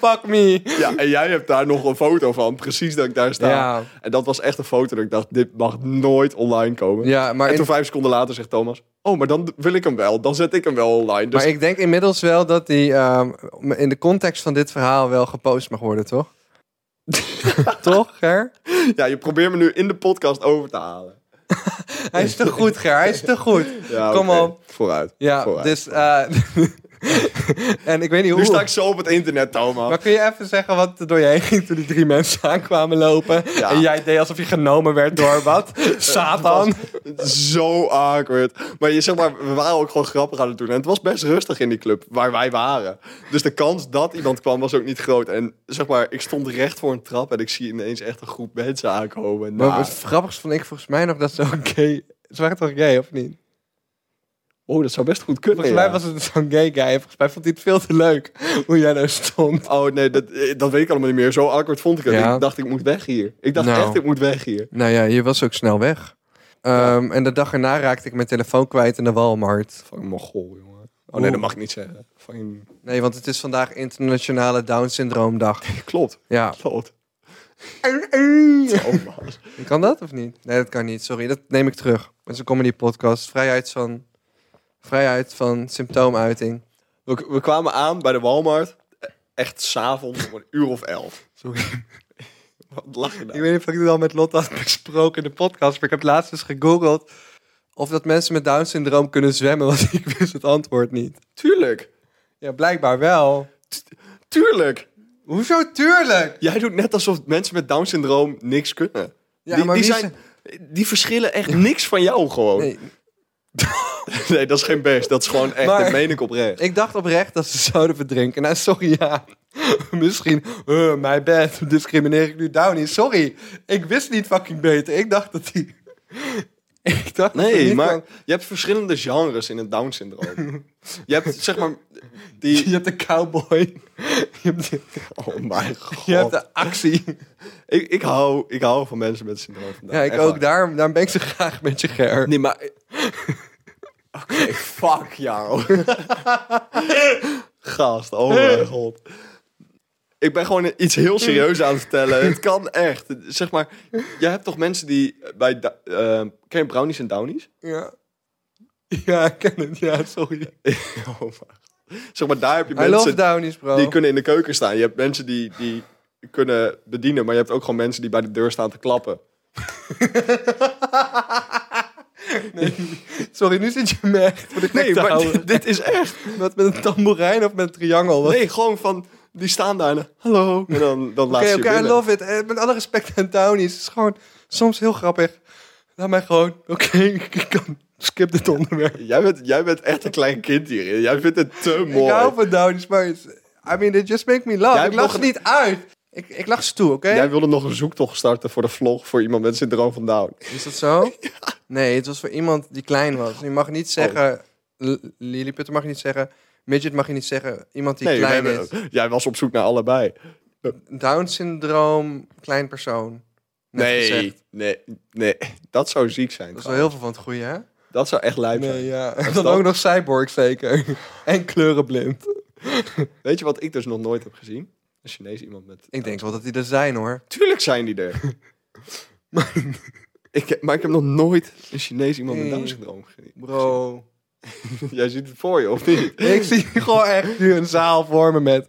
fuck me. Ja, en jij hebt daar nog een foto van, precies dat ik daar sta. Ja. En dat was echt een foto dat ik dacht, dit mag nooit online komen. Ja, maar en in- toen vijf seconden later zegt Thomas, oh, maar dan wil ik hem wel. Dan zet ik hem wel online. Dus Maar ik denk inmiddels wel dat die ehm, in de context van dit verhaal wel gepost mag worden, toch? toch, Ger? ja, je probeert me nu in de podcast over te halen. Hij is te goed, Ger. Hij is te goed. Ja, Kom oké. op. Vooruit. Ja, vooruit. dus... eh, en ik weet niet hoe... Nu sta ik zo op het internet, Thomas. Maar kun je even zeggen wat er door je heen ging toen die drie mensen aankwamen lopen? Ja. En jij deed alsof je genomen werd door wat? Satan. Zo awkward. Maar je zeg maar, we waren ook gewoon grappig aan het doen. En het was best rustig in die club waar wij waren. Dus de kans dat iemand kwam was ook niet groot. En zeg maar, ik stond recht voor een trap en ik zie ineens echt een groep mensen aankomen. Maar Nou, het grappigste vond ik volgens mij nog dat ze ook gay... Ze waren toch gay, of niet? oh, dat zou best goed kunnen. Volgens ja. mij was het zo'n gay guy. En volgens mij vond hij het veel te leuk hoe jij daar stond. Oh nee, dat, eh, dat weet ik allemaal niet meer. Zo awkward vond ik het. Ja. Ik dacht, ik moet weg hier. Ik dacht Nou. echt, ik moet weg hier. Nou ja, je was ook snel weg. Ehm, En de dag erna raakte ik mijn telefoon kwijt in de Walmart. Fucking Mongool, jongen. Oh nee, dat mag ik niet zeggen. Fucking... Nee, want het is vandaag internationale Down-syndroomdag. Klopt, Ja. klopt. Thomas. Kan dat of niet? Nee, dat kan niet. Sorry, dat neem ik terug. Het is een comedy podcast. Vrijheid van, vrijheid van symptoomuiting. We, we kwamen aan bij de Walmart. e- Echt s'avonds om een uur of elf. Sorry. Wat lach je nou? Ik weet niet of ik het al met Lotte had besproken in de podcast, maar ik heb laatst eens gegoogeld of dat mensen met Down-syndroom kunnen zwemmen, want ik wist het antwoord niet. Tuurlijk. Ja, blijkbaar wel. Tuurlijk. Hoezo tuurlijk? Jij doet net alsof mensen met Down-syndroom niks kunnen. Ja, die, maar die, wie zijn, die verschillen echt niks van jou gewoon. Nee. nee, dat is geen best. Dat is gewoon echt, Maar- dat meen ik oprecht. Ik dacht oprecht dat ze zouden verdrinken. Nou, sorry, ja. Misschien, eh my bad, discrimineer ik nu Downey. Sorry, ik wist niet fucking beter. Ik dacht dat die... ik dacht dat die Nee, niet maar kan- je hebt verschillende genres in het Down-syndroom. je hebt, zeg maar, Je die... hebt de cowboy. Je hebt de, Oh mijn god. je hebt de actie. Ik, ik, hou, ik hou van mensen met syndroom. van Down, Ja, ik echt ook. waar. Daarom, daarom ben ik zo graag met je, Ger. Nee, maar... Oké, fuck jou. Gast, oh mijn god. Ik ben gewoon iets heel serieus aan het vertellen. Het kan echt. Zeg maar, jij hebt toch mensen die bij... da- eh, ken je brownies en downies? Ja. Ja, ik ken het. Ja, sorry. oh mijn god. Zeg maar, daar heb je I love mensen Downies, bro. die kunnen in de keuken staan. Je hebt mensen die, die kunnen bedienen, maar je hebt ook gewoon mensen die bij de deur staan te klappen. Sorry, nu zit je me echt voor de gek Nee, te maar houden. dit- dit is echt. Wat met een tamboerijn of met een triangel? Wat- Nee, gewoon van, die staan daar en hallo. En dan, dan laat Oké, ze oké, je I binnen. love it. Eh, met alle respect aan Downies. Het is gewoon soms heel grappig. Laat mij gewoon. Oké, ik kan. Skip dit onderwerp. Jij bent, jij bent echt een klein kind hierin. Jij vindt het te mooi. Ik hou van Downies, maar... it's- I mean, they just make me laugh. Jij ik lach mag- niet uit. Ik, ik lach ze toe, oké? Jij wilde nog een zoektocht starten voor de vlog voor iemand met syndroom van Down. Is dat zo? Nee, het was voor iemand die klein was. Je mag niet Oh. zeggen... L- Lilliputter mag je niet zeggen. Midget mag je niet zeggen. Iemand die Nee, we klein hebben- is. jij was op zoek naar allebei. Down-syndroom, klein persoon. Net Nee, gezegd. nee, nee. Dat zou ziek zijn. Dat is wel trouwens. heel veel van het goede, hè? Dat zou echt lijp zijn. Nee, ja. is En dan dat? ook nog cyborg zeker. En kleurenblind. Weet je wat ik dus nog nooit heb gezien? Een Chinees iemand met... Ik denk wel dat die er zijn, hoor. Tuurlijk zijn die er. ik, heb- maar ik heb nog nooit een Chinees iemand met Nee. Down-syndroom gezien. Bro. Jij ziet het voor je, of niet? Ik zie gewoon echt nu een zaal vormen met...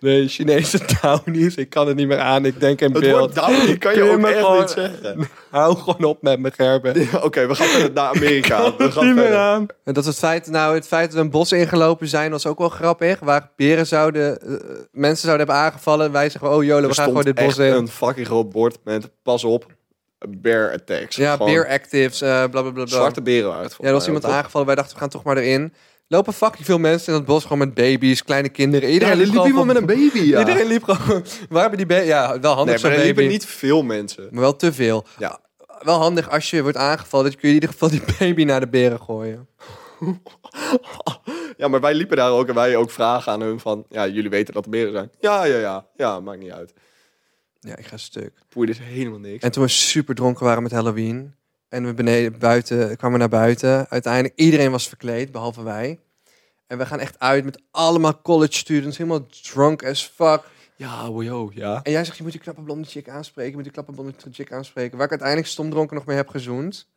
De Chinese Downies. Ik kan het niet meer aan. Ik denk in Het woord beeld. Down kan je Kun je ook me echt gewoon- niet zeggen. Hou gewoon op met me, Gerben. Ja, Oké, we gaan verder naar Amerika. We gaan niet meer verder. aan. En dat het feit, nou, het feit dat we een bos ingelopen zijn was ook wel grappig. Waar beren zouden, eh, mensen zouden hebben aangevallen. En wij zeggen, oh jolo, we Er gaan gewoon dit stond bos echt in. een fucking groot bord met pas op, bear attacks. Ja, Gewoon beer actives, eh, bla bla bla. bla. Zwarte beren uit. ja, er was iemand aangevallen. Wij dachten, we gaan toch maar erin. Lopen fucking veel mensen in dat bos, gewoon met baby's, kleine kinderen. Iedereen liep, gewoon van- baby, Iedereen liep gewoon... Waar hebben die baby... Ja, wel handig nee, zo'n maar er baby. liepen niet veel mensen. Maar wel te veel. Ja. Wel handig als je wordt aangevallen, dat je in ieder geval die baby naar de beren gooien. Ja, maar wij liepen daar ook en wij ook vragen aan hun van... Ja, jullie weten dat er beren zijn. Ja, ja, ja. Ja, maakt niet uit. Ja, ik ga stuk. Poei, dit is helemaal niks. En toen we super dronken waren met Halloween. En we beneden buiten kwamen we naar buiten. Uiteindelijk iedereen was verkleed, behalve wij. En we gaan echt uit met allemaal college students, helemaal drunk as fuck. Ja, wojo, ja. En jij zegt, je moet die knappe blonde chick aanspreken, je moet die knappe blonde chick aanspreken. Waar ik uiteindelijk stomdronken nog mee heb gezoend.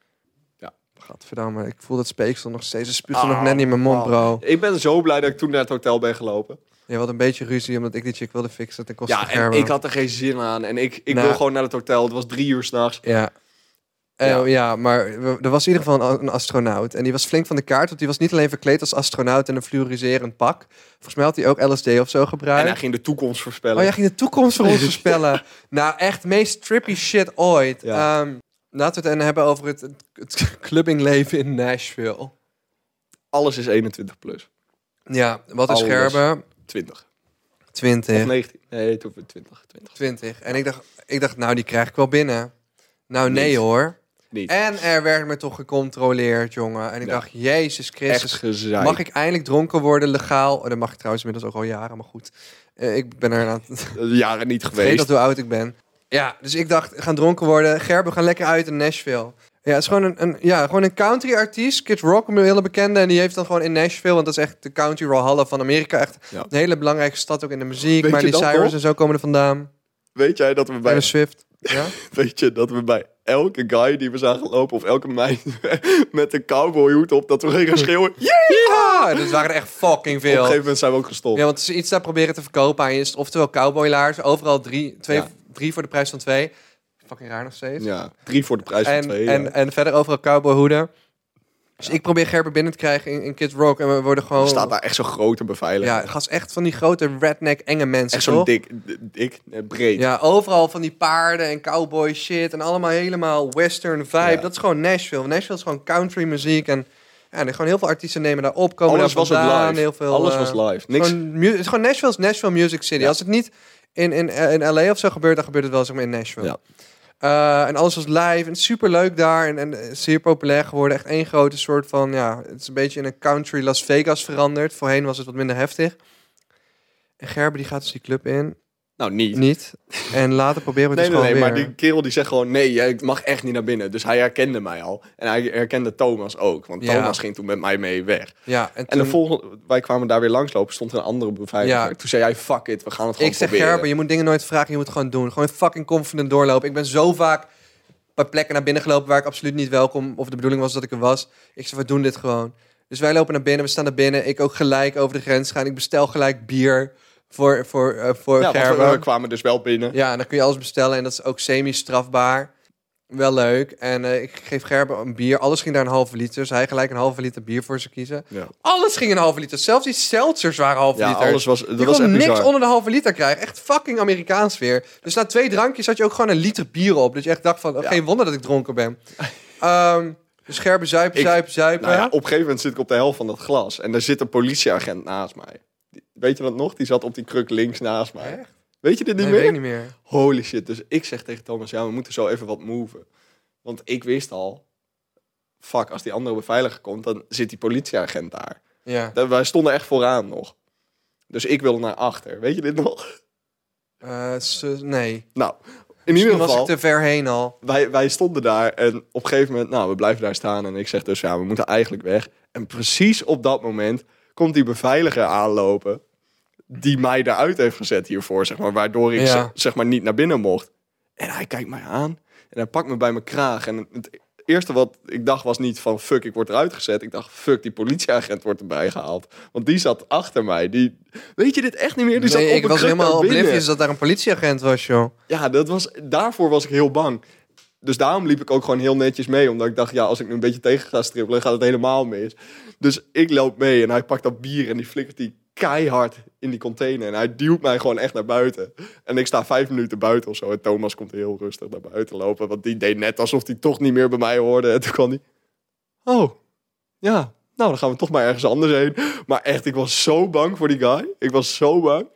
Ja. Gadverdamme, ik voel dat speeksel nog steeds. Het spuugt er nog net in mijn mond, bro. Ik ben zo blij dat ik toen naar het hotel ben gelopen. Je had een beetje ruzie, omdat ik die chick wilde fixen ten koste Ja, van en Gerben. ik had er geen zin aan. En ik, ik Nou. wil gewoon naar het hotel. Het was drie uur s'nachts. Ja. Eh, Ja. ja. maar we- er was in ieder geval een, een astronaut. En die was flink van de kaart, want die was niet alleen verkleed als astronaut in een fluoriserend pak. Volgens mij had hij ook LSD of zo En gebruikt. hij ging de toekomst voorspellen. Oh, jij ging de toekomst voor ons voorspellen. nou, echt meest trippy shit ooit. Ja. Ehm, laten we het en hebben over het, het clubbingleven in Nashville. Alles is 21 plus. Ja, wat is Alles. Gerben? 20. Of 20. 19. Nee, toen 20. 20. 20. En ik dacht, ik dacht, nou, die krijg ik wel binnen. Nou, nee Niet. hoor. Niet. En er werd me toch gecontroleerd, jongen. En ik Ja. dacht, Jezus Echt Christus, gezeik. Mag ik eindelijk dronken worden, legaal? Oh, dat mag ik trouwens inmiddels ook al jaren, maar goed. Eh, ik ben er aan het Eh, Jaren niet geweest. weet dat hoe oud ik ben. Ja, dus ik dacht, gaan dronken worden. Gerben, we gaan lekker uit in Nashville. Ja, het is gewoon een, een, ja, gewoon een country artiest. Kid Rock, een hele bekende. En die heeft dan gewoon in Nashville, want dat is echt de country Hall van Amerika. Echt Ja. een hele belangrijke stad ook in de muziek. Weet maar je die dat Cyrus nog? en zo komen er vandaan. Weet jij dat we bij, Taylor Swift. Ja? weet je, dat we bij elke guy die we zagen lopen of elke meid met een cowboyhoed op, dat we gingen schreeuwen. Yeah! ja! Ah, Dat waren er echt fucking Op een veel. gegeven moment zijn we ook gestopt. Ja, want ze iets daar proberen te verkopen aan je. is Oftewel cowboylaars, overal drie, twee, Ja. drie voor de prijs van twee. Fucking raar nog steeds. Ja, drie voor de prijs van en, twee. en, ja. en verder overal cowboyhoeden. Dus ik probeer Gerber binnen te krijgen in, in Kid Rock. En we worden gewoon... Er staat daar echt zo'n grote beveiliger. ja, gast, echt van die grote redneck enge mensen, echt zo'n toch? dik, d- dik, eh, breed. Ja, overal van die paarden en cowboy shit. En allemaal helemaal western vibe. Ja. Dat is gewoon Nashville. Nashville is gewoon country muziek. En Ja, en gewoon heel veel artiesten nemen daar op, komen Alles daar was ook vandaan, live. Heel veel, Alles eh, was live. Niks. Gewoon, mu- het is gewoon Nashville is Nashville Music City. Ja. Als het niet in, in, eh, in LA of zo gebeurt, dan gebeurt het wel zeg maar in Nashville. Ja. Eh, en alles was live en super leuk daar en, en eh, zeer populair geworden. Echt één grote soort van, ja, het is een beetje in een country Las Vegas veranderd. Voorheen was het wat minder heftig. En Gerber die gaat dus die club in. Nou, niet. Niet. En later proberen we het Nee, dus nee, gewoon nee, maar weer. die kerel die zegt gewoon, nee, jij mag echt niet naar binnen. Dus hij herkende mij al. En hij herkende Thomas ook, want Ja. Thomas ging toen met mij mee weg. Ja, en, En de toen- volgende, wij kwamen daar weer langslopen, stond er een andere beveiliger. Ja. Toen zei hij, fuck it, we gaan het gewoon Ik zeg proberen. Gerber, je moet dingen nooit vragen, je moet het gewoon doen. Gewoon fucking confident doorlopen. Ik ben zo vaak bij plekken naar binnen gelopen waar ik absoluut niet welkom of de bedoeling was dat ik er was. Ik zeg, we doen dit gewoon. Dus wij lopen naar binnen, we staan naar binnen. Ik ook gelijk over de grens gaan. Ik bestel gelijk bier voor, voor, eh, voor ja, want we, Gerber. we kwamen dus wel binnen. Ja, en dan kun je alles bestellen en dat is ook semi-strafbaar. Wel leuk. En eh, ik geef Gerber een bier. Alles ging daar een halve liter. Dus hij gelijk een halve liter bier voor ze kiezen. Ja. Alles ging een halve liter. Zelfs die seltzers waren halve Ja, liter. alles was, dat Je was echt kon niks bizar. onder de halve liter krijgen. Echt fucking Amerikaans weer. Dus na twee drankjes had je ook gewoon een liter bier op. Dat je echt dacht van, oh, Ja. geen wonder dat ik dronken ben. Ehm dus Gerber zuipen, Ik- zuipen, zuipen. Nou ja, op een gegeven moment zit ik op de helft van dat glas. En daar zit een politieagent naast mij. Die- Weet je dat nog? Die zat op die kruk links naast mij. Echt? Weet je dit niet Nee, meer? weet ik niet meer. Holy shit. Dus ik zeg tegen Thomas, ja, we moeten zo even wat moven. Want ik wist al, fuck, als die andere beveiliger komt, dan zit die politieagent daar. Ja. Da- Wij stonden echt vooraan nog. Dus ik wilde naar achter. Weet je dit nog? Eh, ze- nee. In Nou, in ieder was ik geval, te ver heen al. wij, wij stonden daar en op een gegeven moment, nou, we blijven daar staan. En ik zeg dus, ja, we moeten eigenlijk weg. En precies op dat moment komt die beveiliger aanlopen die mij eruit heeft gezet hiervoor, zeg maar. Waardoor ik, Ja. zeg- zeg maar, niet naar binnen mocht. En hij kijkt mij aan en hij pakt me bij mijn kraag. En het eerste wat ik dacht was niet van fuck, ik word eruit gezet. Ik dacht fuck, die politieagent wordt erbij gehaald. Want die zat achter mij. Die, weet je dit echt niet meer? Die Nee, zat op ik een was kruk helemaal naar binnen. oblivious dus dat daar een politieagent was, joh. Ja, dat was, daarvoor was ik heel bang. Dus daarom liep ik ook gewoon heel netjes mee. Omdat ik dacht, ja, als ik nu een beetje tegen ga strippelen, gaat het helemaal mis. Dus ik loop mee en hij pakt dat bier en die flikkert die keihard in die container. En hij duwt mij gewoon echt naar buiten. En ik sta vijf minuten buiten of zo. En Thomas komt heel rustig naar buiten lopen. Want die deed net alsof hij toch niet meer bij mij hoorde. En toen kwam hij, oh, ja, nou dan gaan we toch maar ergens anders heen. Maar echt, ik was zo bang voor die guy. Ik was zo bang.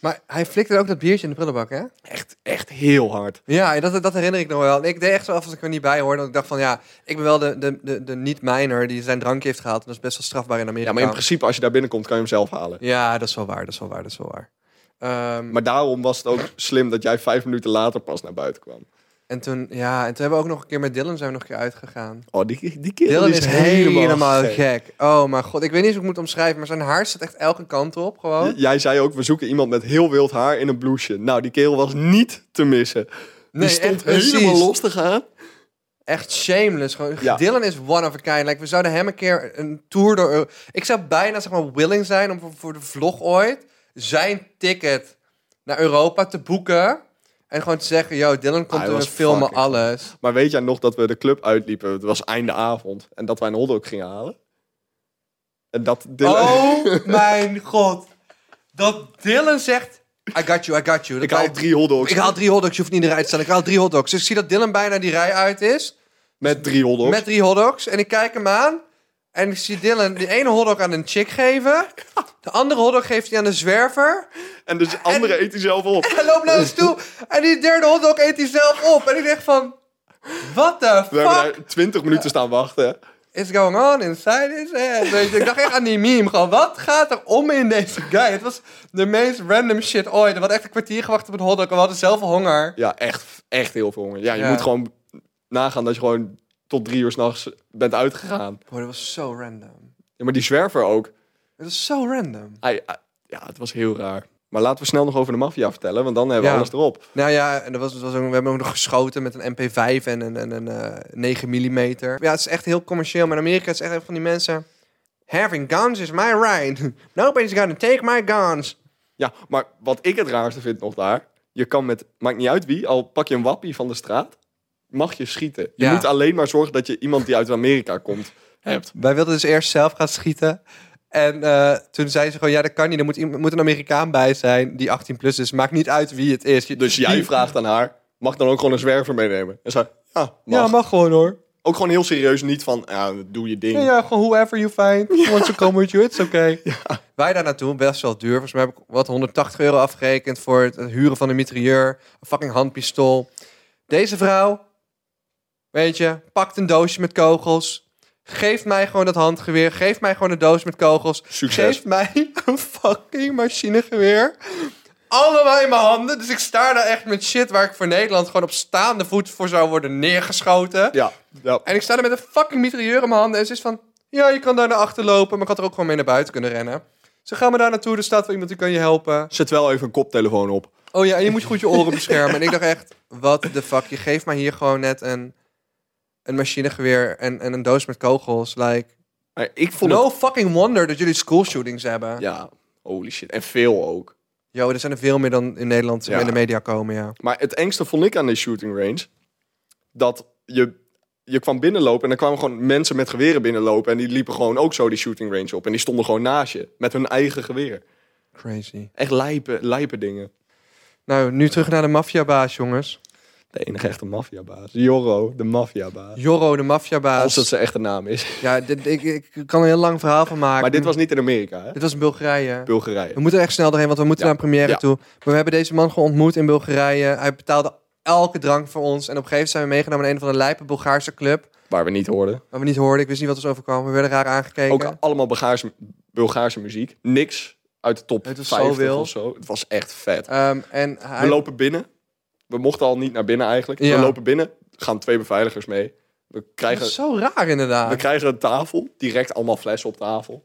Maar hij flikkerde ook dat biertje in de prullenbak, hè? Echt, echt heel hard. Ja, dat, dat herinner ik nog wel. Ik deed echt zo af als ik er niet bij hoorde. Want ik dacht van, ja, ik ben wel de, de, de, de niet-miner die zijn drankje heeft gehaald. En dat is best wel strafbaar in Amerika. Ja, maar in principe, als je daar binnenkomt, kan je hem zelf halen. Ja, dat is wel waar, dat is wel waar, dat is wel waar. Ehm, Maar daarom was het ook slim dat jij vijf minuten later pas naar buiten kwam. en, toen, ja, en toen hebben we ook nog een keer met Dylan zijn we nog een keer uitgegaan. Oh, die, die kerel Dylan die is, helemaal, gek. Oh mijn god, ik weet niet eens hoe ik het moet omschrijven, maar zijn haar staat echt elke kant op gewoon. J- Jij zei ook, we zoeken iemand met heel wild haar in een blouseje. Nou, die kerel was niet te missen. Die Nee, stond echt precies. helemaal los te gaan. Echt shameless. Gewoon. Ja. Dylan is one of a kind. Like, we zouden hem een keer een tour door... Eu- Ik zou bijna zeg maar willing zijn om voor, voor de vlog ooit... zijn ticket naar Europa te boeken... en gewoon te zeggen... yo, Dylan komt Hij en we was filmen fucking alles. Maar weet jij nog dat we de club uitliepen? Het was einde avond. En dat wij een hotdog gingen halen. En dat Dylan... Oh mijn god. Dat Dylan zegt... I got you, I got you. Dat ik haal wij- drie hotdogs. Ik haal drie hotdogs, je hoeft niet in de rij te staan. Ik haal drie hotdogs. Dus ik zie dat Dylan bijna die rij uit is. Met drie hotdogs. Met drie hotdogs. En ik kijk hem aan. En ik zie Dylan die ene hotdog aan een chick geven. De andere hotdog geeft hij aan de zwerver. En dus andere eet hij zelf op. Hij loopt naar ons toe. En die derde hotdog eet hij zelf op. En ik denk van... What the We hebben fuck daar twintig minuten staan wachten. is going on inside his head? Weet je, ik dacht echt aan die meme. Gewoon, wat gaat er om in deze guy? Het was de meest random shit ooit. We hadden echt een kwartier gewacht op een hotdog. En we hadden zelf honger. Ja, echt, echt heel veel honger. Ja, je Ja. moet gewoon nagaan dat je gewoon tot drie uur s'nachts bent uitgegaan. Boy, dat was zo random. Ja, maar die zwerver ook. Het is zo random. Hij, hij- ja, het was heel raar. Maar laten we snel nog over de maffia vertellen, want dan hebben we Ja. alles erop. Nou ja, en dat was, dat was ook, we hebben ook nog geschoten met een MP5 en een, en een eh, 9 mm. Ja, het is echt heel commercieel. Maar in Amerika is het echt van die mensen... Having guns is my right. Nobody's gonna take my guns. Ja, maar wat ik het raarste vind nog daar. Je kan met, maakt niet uit wie, al pak je een wappie van de straat, mag je schieten. Je Ja. moet alleen maar zorgen dat je iemand die uit Amerika komt hebt. Wij wilden dus eerst zelf gaan schieten. En eh, toen zei ze gewoon, ja, dat kan niet. Er moet, iemand- moet een Amerikaan bij zijn die 18 plus is. Maakt niet uit wie het is. Je- Dus jij die- vraagt aan haar, mag dan ook gewoon een zwerver meenemen? En zij, ja, mag. Ja, mag gewoon hoor. Ook gewoon heel serieus, niet van, ja, doe je ding. Ja, ja, gewoon whoever you find wants to come with you, it's okay. Wij daar naartoe, best wel duur. Volgens mij heb ik wat 180 euro afgerekend voor het huren van een mitrailleur, een fucking handpistool. Deze vrouw, weet je, pakt een doosje met kogels. Geef mij gewoon dat handgeweer. Geef mij gewoon een doos met kogels. Succes. Geef mij een fucking machinegeweer. Allemaal in mijn handen. Dus ik sta daar echt met shit waar ik voor Nederland gewoon op staande voet voor zou worden neergeschoten. Ja, ja. En ik sta er met een fucking mitrailleur in mijn handen. En ze is van, ja, je kan daar naar achter lopen. Maar ik had er ook gewoon mee naar buiten kunnen rennen. Ze gaan me daar naartoe. Er staat wel iemand die kan je helpen. Zet wel even een koptelefoon op. Oh ja, en je moet goed je oren beschermen. En ik dacht echt, wat de fuck. Je geeft mij hier gewoon net een, een machinegeweer en, en een doos met kogels. Like, Maar ik vond no fucking wonder dat jullie schoolshootings hebben. het... Ja, holy shit. En veel ook. Yo, er zijn er veel meer dan in Nederland Ja. in de media komen, ja. Maar het engste vond ik aan de shooting range... dat je, je kwam binnenlopen en er kwamen gewoon mensen met geweren binnenlopen... en die liepen gewoon ook zo die shooting range op. En die stonden gewoon naast je, met hun eigen geweer. Crazy. Echt lijpen, lijpen dingen. Nou, nu terug naar de maffiabaas, jongens. De enige echte maffiabaas. Jorro, de maffiabaas. Jorro, de Als dat maffiabaas. zijn echte naam is. Ja, dit, ik, ik kan er een heel lang verhaal van maken. Maar dit was niet in Amerika, hè? Dit was in Bulgarije. Bulgarije. We moeten er echt snel doorheen, want we moeten Ja. naar een première Ja. toe. Maar we hebben deze man gewoon ontmoet in Bulgarije. Hij betaalde elke drank voor ons. En op een gegeven moment zijn we meegenomen naar een van de lijpe Bulgaarse club. Waar we niet hoorden. Waar we niet hoorden. Ik wist niet wat ons overkwam. We werden raar aangekeken. Ook allemaal Bulgaarse, Bulgaarse muziek. Niks uit de top Het was 50 zo wild. of zo. Het was echt vet. Ehm, en We hij, lopen binnen. We mochten al niet naar binnen eigenlijk. Ja. We lopen binnen. Gaan twee beveiligers mee. We dat is krijgen, zo raar inderdaad. we krijgen een tafel. Direct allemaal flessen op tafel.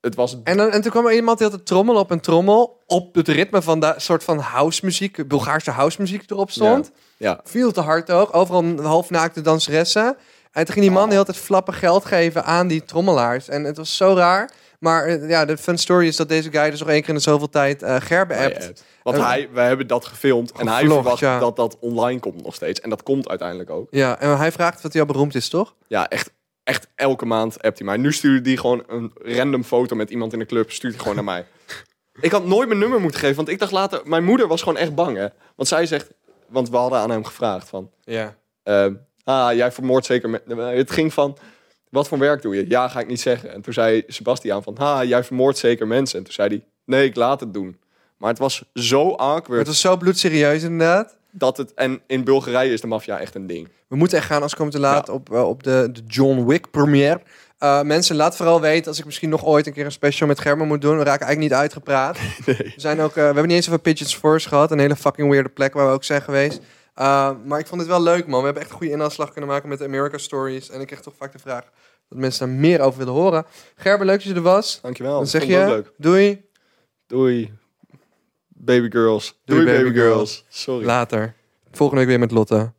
Het was... En, dan, en toen kwam er iemand die had een trommel op een trommel. Op het ritme van de soort van house muziek, Bulgaarse house muziek erop stond. Ja. Viel te hard ook. Overal halfnaakte danseressen. En toen ging die man de hele tijd flappen geld geven aan die trommelaars. En het was zo raar. Maar eh, ja, de fun story is dat deze guy dus nog één keer in de zoveel tijd eh Ger Bij beappt. Oh, appt. Want Eh, hij, we hebben dat gefilmd. En hij Gevlogd, verwacht ja. dat dat online komt nog steeds. En dat komt uiteindelijk ook. Ja, en hij vraagt wat hij al beroemd is, toch? Ja, echt, echt elke maand appt hij mij. Nu stuurde hij gewoon een random foto met iemand in de club. Stuurt hij gewoon naar mij. Ik had nooit mijn nummer moeten geven, want ik dacht later... Mijn moeder was gewoon echt bang, hè. Want zij zegt... Want we hadden aan hem gevraagd van... Ja. ehm, ah, jij vermoordt zeker... me- eh, het ging van... Wat voor werk doe je? Ja, ga ik niet zeggen. En toen zei Sebastiaan van... Ah, jij vermoordt zeker mensen. En toen zei hij... Nee, ik laat het doen. Maar het was zo awkward Het was zo bloedserieus inderdaad. dat het... En in Bulgarije is de maffia echt een ding. We moeten echt gaan als komt te laat op, eh, op de, de John Wick première. Eh, mensen, laat vooral weten als ik misschien nog ooit een keer een special met Germen moet doen. We raken eigenlijk niet uitgepraat. We, zijn ook, eh, we hebben niet eens over Pigeons Force gehad. Een hele fucking weirde plek waar we ook zijn geweest. Eh, maar ik vond het wel leuk, man. We hebben echt een goede inhaalslag kunnen maken met de America Stories. En ik kreeg toch vaak de vraag dat mensen daar meer over willen horen. Gerben, leuk dat je er was. Dankjewel. Dan zeg Vond Oh, ik ook je, doei, Doei. Baby girls. Doei, Doei, baby baby, girls. Sorry. later. Volgende week weer met Lotte.